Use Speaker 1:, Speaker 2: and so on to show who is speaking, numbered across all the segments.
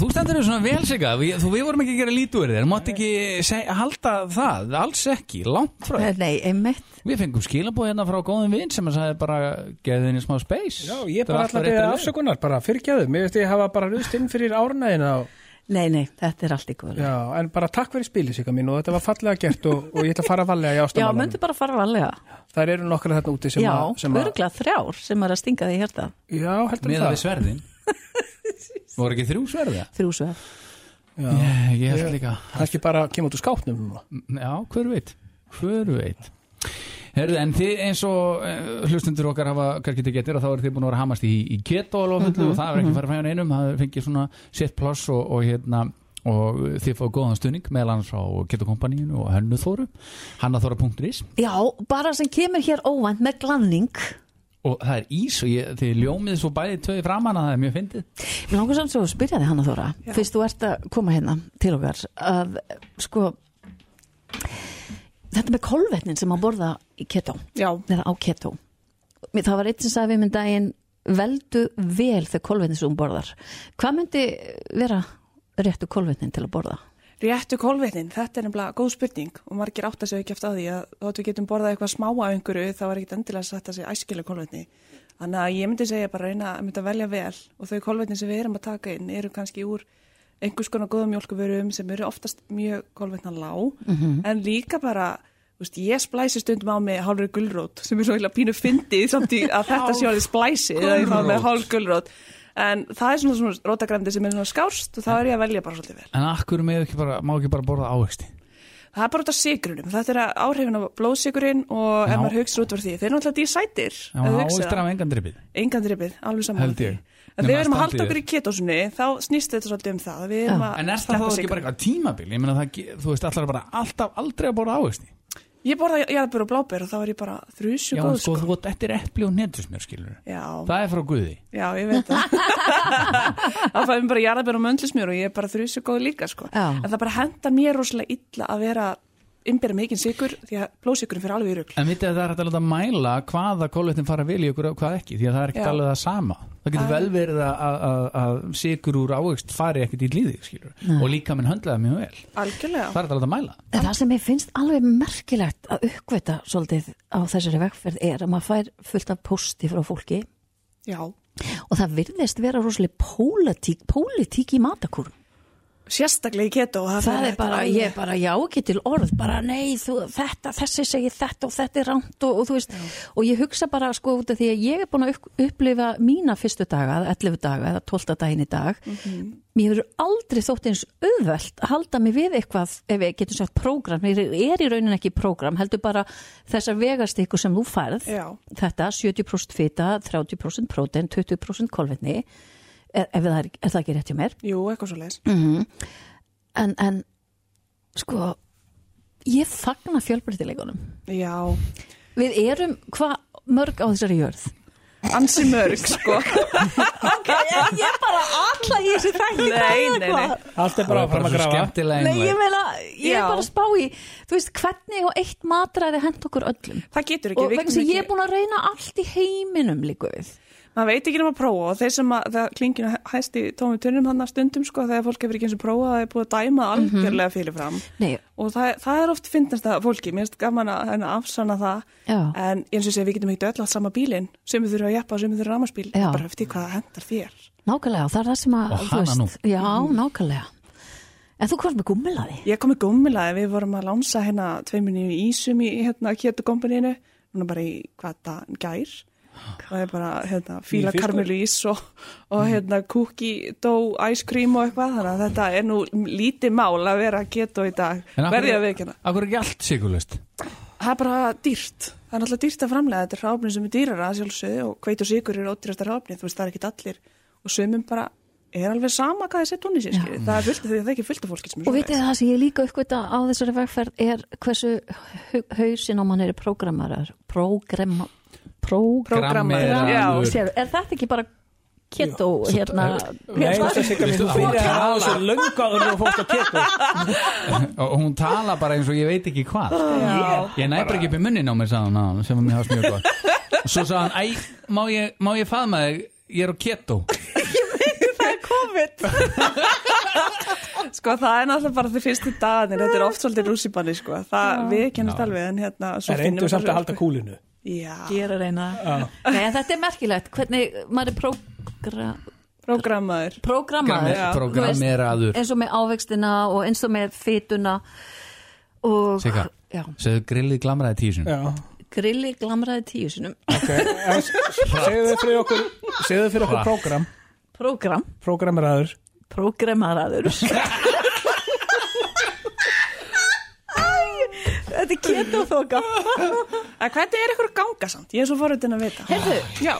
Speaker 1: stendur þér svona velsiga við, þú, við vorum ekki að gera lítur þér mátt ekki seg, halda það, alls ekki langt frá þér
Speaker 2: Nei, einmitt
Speaker 1: við fengum skilabóð hérna frá góðum vinn sem að sagði bara geði henni smá space
Speaker 3: Já, ég
Speaker 1: Þetta
Speaker 3: bara
Speaker 1: var
Speaker 3: alltaf
Speaker 1: allt rétta
Speaker 3: beðið
Speaker 1: leið.
Speaker 3: afsökunar, bara fyrirgjáðu, mér veist ég hafa bara rust inn fyrir árnaðina og,
Speaker 2: Nei, nei, þetta er allt í góður Já,
Speaker 3: já, en bara takk fyrir spilið síka mín og þetta var fallega gert og, og ég ætla að fara valega í
Speaker 2: já
Speaker 3: ástamálunum.
Speaker 2: myndu bara að fara varlega
Speaker 3: Þær eru nokkra þarna úti sem
Speaker 2: Já,
Speaker 3: að, sem að,
Speaker 2: örgulega þrjár sem er að stinga því hérta
Speaker 3: já, heldur
Speaker 1: með
Speaker 3: það.
Speaker 1: við sverðin voru ekki þrjú sverða
Speaker 2: Þrjú sveð
Speaker 3: Já,
Speaker 1: ég, Eh, ég held líka
Speaker 3: kannski bara kemur út úr skápnum núna.
Speaker 1: já, hver veit hver veit Herðu, en þið eins og eh, hlustendur okkar hafa kannski ekki getur að þá eru þið búin að vera að hamast í, í keto alveg fullu
Speaker 4: Mhm,
Speaker 1: og það er ekki farið fæðan einum það fengið svona set plus og, og hérna og þið fá góðan stuðning meðal annars frá keto kompaníinu og hönnu þóru hannaþóra.is
Speaker 2: Já, bara sem kemur hér óvænt með glanning
Speaker 1: og það er ís og ég, þið ljómið svo bæði tvei framan að það er mjög fyndið
Speaker 2: Mér langar samt svo að spyrja þig Hanna Þóra fyrst þú ert að koma hérna til okkar að sko þetta með kolvetnin sem að borða í keto,
Speaker 4: Já,
Speaker 2: eða á keto Mér- það var eitt sem sagði við minn daginn veldu vel þau kolvetnin sem hún borðar hvað myndi vera réttu kolvetnin til að borða?
Speaker 4: réttu kolvetnin, þetta er nefnilega góð spurning og margir átt að segja ekki eftir að því að þótt við getum borðað eitthvað smá af einhverju þá er ekkit endilega satt að segja æskileg kolvetni. Þannig að ég myndi segja bara reyna að mynda að velja vel og þau kolvetni sem við erum að taka inn eru kannski úr einhvers konar góðum mjölkuvörum sem eru oftast mjög kolvetna lág en líka bara, þú veist, ég splæsi stundum á með hálfur gulrót sem er svo eitthvað pínu fyndið samt í að þetta sé alveg splæsið að ég fá með hálfur gulrót en það er svona, svona rótagræmdi sem er svona skárst og þá er ég að velja bara svolítið vel
Speaker 1: en akkur með ekki bara, má ekki bara borða ávexti
Speaker 4: Það er bara út af sigrunum, þetta er áhrifin af blóðsigurinn og
Speaker 1: Já.
Speaker 4: ef maður hugsa út fyrir því, þeir eru náttúrulega dísætir
Speaker 1: en það ávextir af engan drippið
Speaker 4: engan drippið, alveg saman
Speaker 1: Held ég.
Speaker 4: En
Speaker 1: Nema
Speaker 4: þegar við erum
Speaker 1: standið
Speaker 4: að halda okkur
Speaker 1: er.
Speaker 4: í ketosunni, þá snýst þetta svolítið um það að við erum að
Speaker 1: en er það
Speaker 4: sleppa
Speaker 1: þá ekki
Speaker 4: sykrum.
Speaker 1: bara eitthvað tímabil ég meina það, ge- þú veist, allar bara alltaf aldrei að borða ávexti
Speaker 4: Ég borða jarðbör og blábör og þá er ég bara þrjusju
Speaker 1: já,
Speaker 4: góð
Speaker 1: en sko, þú gott, þetta er epli og netusmjör skilur
Speaker 4: Já,
Speaker 1: það er frá Guði
Speaker 4: já, ég veit það Þá fæðum bara jarðbör og möndlismjör og ég er bara þrjusju góð líka sko.
Speaker 2: Já.
Speaker 4: En það bara henda mér rosalega illa að vera innbyrja mikinn sigur því að blóðsigurinn fyrir alveg í rugl
Speaker 1: en vitið að það er hægt alveg að mæla hvaða kólvetnin fara vel í okkur og hvað ekki því að það er ekkert
Speaker 4: Já.
Speaker 1: alveg það sama það getur vel verið að- að- að- að sigur úr ávext fari ekkert í líði skilur og líka minn höndlaði mjög vel
Speaker 4: Algjörlega
Speaker 1: það er alveg að mæla
Speaker 2: En það sem ég finnst alveg merkilegt að uppgöta svolítið á þessari vegferð er að maður fær fullt af posti frá fólki
Speaker 4: Já,
Speaker 2: og það virðist vera rosalega pólitík, pólitík í matakúrum
Speaker 4: sérstaklega í keto og
Speaker 2: Það
Speaker 4: fer
Speaker 2: er
Speaker 4: þetta
Speaker 2: bara,
Speaker 4: alveg-
Speaker 2: ég er bara, já, ekki til orð, bara nei, þú, þetta, þessi segir þetta og þetta er rámt og, og þú veist, og ég hugsa bara sko út af því að ég er búin að upp- upplifa mína fyrstu daga, eða 11 daga eða 12 daginn í dag,
Speaker 4: Mhm.
Speaker 2: mér hefur aldrei þótt eins auðvelt að halda mig við eitthvað, ef ég getur sagt prógram, ég er í raunin ekki prógram, heldur bara þessar vegastikku sem þú færð,
Speaker 4: Já.
Speaker 2: þetta 70% fita, 30% prótein, 20% kolvetni, ef, ef það er, er það ekki rétt hjá mér,
Speaker 4: Jú, eitthvað svo leiðis.
Speaker 2: en, en sko ég fagna fjölbreytileikunum
Speaker 4: Já,
Speaker 2: við erum hvað mörg á þessari jörð
Speaker 4: ansi mörg, sko.
Speaker 2: ég, ég bara alla í þessu þætti
Speaker 4: Nei, nei, nei.
Speaker 3: Allt er
Speaker 1: það
Speaker 3: bara
Speaker 1: er bara
Speaker 3: áfram að
Speaker 1: svo
Speaker 3: grafa.
Speaker 1: skemmtilega
Speaker 2: Nei, ég
Speaker 1: einlæg.
Speaker 2: meina, ég er
Speaker 4: Já.
Speaker 2: bara að spá í þú veist, hvernig og eitt matræði hend okkur öllum
Speaker 4: Það getur
Speaker 2: og
Speaker 4: ekki. við
Speaker 2: vegna
Speaker 4: getum
Speaker 2: sem ég er
Speaker 4: ekki-
Speaker 2: búin að reyna allt í heiminum líka við
Speaker 4: Maður veit ekki nema að prófa og þeir sem að það klinginu hæst í tómi tunnum hann að stundum, sko, þegar fólk hefur ekki eins og prófa það er búið að dæma algjörlega fyrir fram.
Speaker 2: Mhm. Nei,
Speaker 4: Og það, það er oft fyndast að fólki, mér finnst gaman að hérna, afsanna það,
Speaker 2: Já.
Speaker 4: en eins og segja við getum ekki öll að sama bílinn, sem við þurfum að jeppa og sem við þurfum að ramaspíl,
Speaker 2: Já.
Speaker 4: bara eftir hvað hendar þér.
Speaker 2: nákvæmlega, það er það sem að
Speaker 1: Og
Speaker 2: þú
Speaker 1: hana nú.
Speaker 2: Já, nákvæmlega En þú komst með gummilaði
Speaker 4: Ég kom í gummilaði, við vorum að lánsa hérna tveiminni í Ísum í hérna kjötukompaninu, núna bara í hvað það gær. Það er bara hérna, fíla
Speaker 3: fiskur.
Speaker 4: karmelu ís og,
Speaker 1: Mm.
Speaker 4: og hérna kúki, dó, ice cream og eitthvað, þannig að þetta er nú lítið mál að vera að geta í dag,
Speaker 1: En af
Speaker 4: verði
Speaker 1: hverju-
Speaker 4: að veikina.
Speaker 1: af hverju er ekki allt sigurlust
Speaker 4: Það er bara dýrt, það er náttúrulega dýrt að framlega, þetta er hráfni sem er dýrara að sjálfsögðu og hveit og sigur eru ódýrasta hráfni, þú veist það er ekkit allir og sömum bara er alveg sama hvað þið sett hún í sér, skilið. það er fullt, það er ekki fullt af fólki sem er
Speaker 2: Og
Speaker 4: svoleiðis.
Speaker 2: vitið þið það sem ég líka uppgöta á þessari vegferð er hversu hau- hausinn á mann eru prógramarar prógrama, prógrama
Speaker 4: Prógrammaður, já.
Speaker 1: Programmeraður.
Speaker 2: sér, er þetta ekki bara keto hérna
Speaker 3: Nei, þetta er sikka
Speaker 1: Veistu,
Speaker 3: mín, þú
Speaker 1: hún
Speaker 3: fyrir að hafa
Speaker 1: talar.
Speaker 3: þessu löngaður og fórst að keto.
Speaker 1: og hún tala bara eins og ég veit ekki hvað
Speaker 2: Ah.
Speaker 1: ég næ bara ekki upp í munnin á mér sagði hún áðan, sem var mjög mjög gott og svo sagði hann, æ, má ég, má ég faðma þig ég er á keto
Speaker 2: það er COVID
Speaker 4: sko, það er náttúrulega bara því fyrstu dagarnir, þetta er oft svolítið rússipanni, sko, það við kennast alveg, en hérna, svo
Speaker 3: Það reyndu samt að
Speaker 4: alveg,
Speaker 3: halda kúlinu.
Speaker 4: Já,
Speaker 2: gera reyna Nei, en þetta er merkilegt, hvernig maður er prógra,
Speaker 4: prógrammaður.
Speaker 2: prógramaður
Speaker 4: Já.
Speaker 1: Programmeraður.
Speaker 2: eins og með ávextina og eins og með fytuna og
Speaker 1: Sigga.
Speaker 2: já,
Speaker 1: Segðu grillið glamraði tísun
Speaker 3: Já,
Speaker 2: grilli glamraði tíu sinum
Speaker 3: ok. En s- Segðu þau fyrir okkur, segðu fyrir okkur
Speaker 1: Hratt.
Speaker 3: prógram,
Speaker 2: prógram,
Speaker 3: prógramraður.
Speaker 2: prógramaður Þetta er kjöta þóka
Speaker 4: En hvernig er ykkur að ganga samt? Ég er svo forutin að vita.
Speaker 2: Heyrðu,
Speaker 4: Já,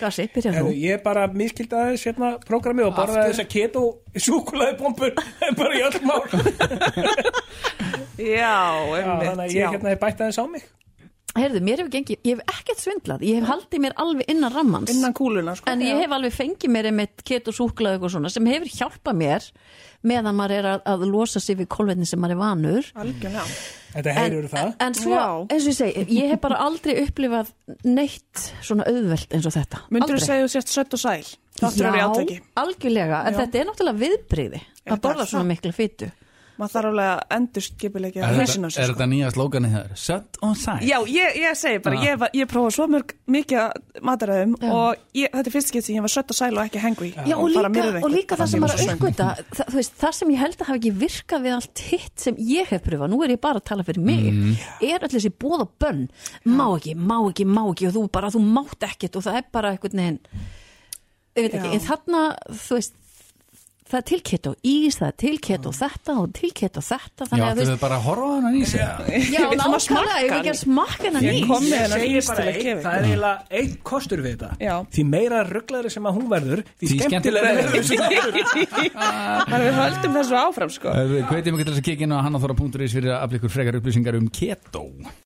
Speaker 2: Gassi, byrja
Speaker 3: Heru,
Speaker 2: þú
Speaker 3: ég bara miskildi aðeins hérna prógrami og borðaði þess að keto súkulaði bombur bara í öll mál Já,
Speaker 4: já,
Speaker 3: þannig að
Speaker 4: einmitt,
Speaker 3: ég
Speaker 4: já.
Speaker 3: hérna bætti aðeins á mig
Speaker 2: Heyrðu, mér hefur gengið, ég hef ekkert svindlað Ég hef haldið mér alveg innan rammans
Speaker 4: Innan kúluna, sko.
Speaker 2: En ég hef alveg fengið mér einmitt ket og súklaðu og svona sem hefur hjálpað mér meðan maður er að, að losa sig við kolvetni sem maður er vanur
Speaker 4: Algjörlega.
Speaker 3: Þetta
Speaker 2: en,
Speaker 3: heyrur það
Speaker 2: en svo,
Speaker 4: Já.
Speaker 2: eins og ég segi, ég hef bara aldrei upplifað neitt svona auðvelt eins og þetta
Speaker 4: Myndur þú
Speaker 2: Aldrei.
Speaker 4: segja þú sért sött og sæl? Þáttur eru í átæki.
Speaker 2: Já, algjörlega, en
Speaker 4: Já.
Speaker 2: þetta er náttúrulega viðbriði
Speaker 4: Þetta
Speaker 2: að borða
Speaker 4: er
Speaker 2: svona
Speaker 4: það.
Speaker 2: mikla fytu
Speaker 4: Maður þarf alveg að endur skipilegja
Speaker 1: Er
Speaker 4: hessin
Speaker 1: þetta,
Speaker 4: á
Speaker 1: er
Speaker 4: sig, sko.
Speaker 1: þetta nýja slóganið þér? Sött og sæl
Speaker 4: Já, ég, ég segi bara, ég, var- ég prófa svo mörg mikið að mataræðum
Speaker 2: Já.
Speaker 4: og ég, þetta er fyrst skipt sem ég var sött og sæl og ekki hengri.
Speaker 2: Já, og líka, og líka það sem maður uppgöta það, þú veist, það sem ég held að hafa ekki virkað við allt hitt sem ég hef pröfað, nú er ég bara að tala fyrir mig er öll þessi bóð og bönn má ekki, má ekki, má ekki og þú bara, þú mátt ekkert og það er bara einhvern veginn ég veit ekki,
Speaker 4: Já.
Speaker 2: en þarna þú veist, það er tilkett og ís það er tilkett
Speaker 4: Mm.
Speaker 2: og þetta og tilkett og þetta
Speaker 1: Já,
Speaker 2: þannig að þú
Speaker 1: þau
Speaker 2: veist,
Speaker 1: bara að horfa á hann í sig eða?
Speaker 2: já,
Speaker 4: Við ætlum að
Speaker 2: nákvæmlega, ég vil ekki að smakka hennar
Speaker 4: Ég
Speaker 2: ís
Speaker 4: kom með hennar
Speaker 3: Segir
Speaker 4: ís
Speaker 3: bara
Speaker 4: til að
Speaker 3: eitt,
Speaker 4: gefa
Speaker 3: Það er eiginlega einn kostur við þetta
Speaker 4: Já.
Speaker 3: Því meira rugglaðri sem að hún verður Því,
Speaker 1: Því
Speaker 3: skemmtilega
Speaker 1: skemmtilegri
Speaker 3: verður þessi
Speaker 4: Þannig að við höldum þessu áfram sko
Speaker 1: Hvetjum ekki til þess að kikið inn á hannafþóra.is fyrir að afla ykkur frekar upplýsingar um keto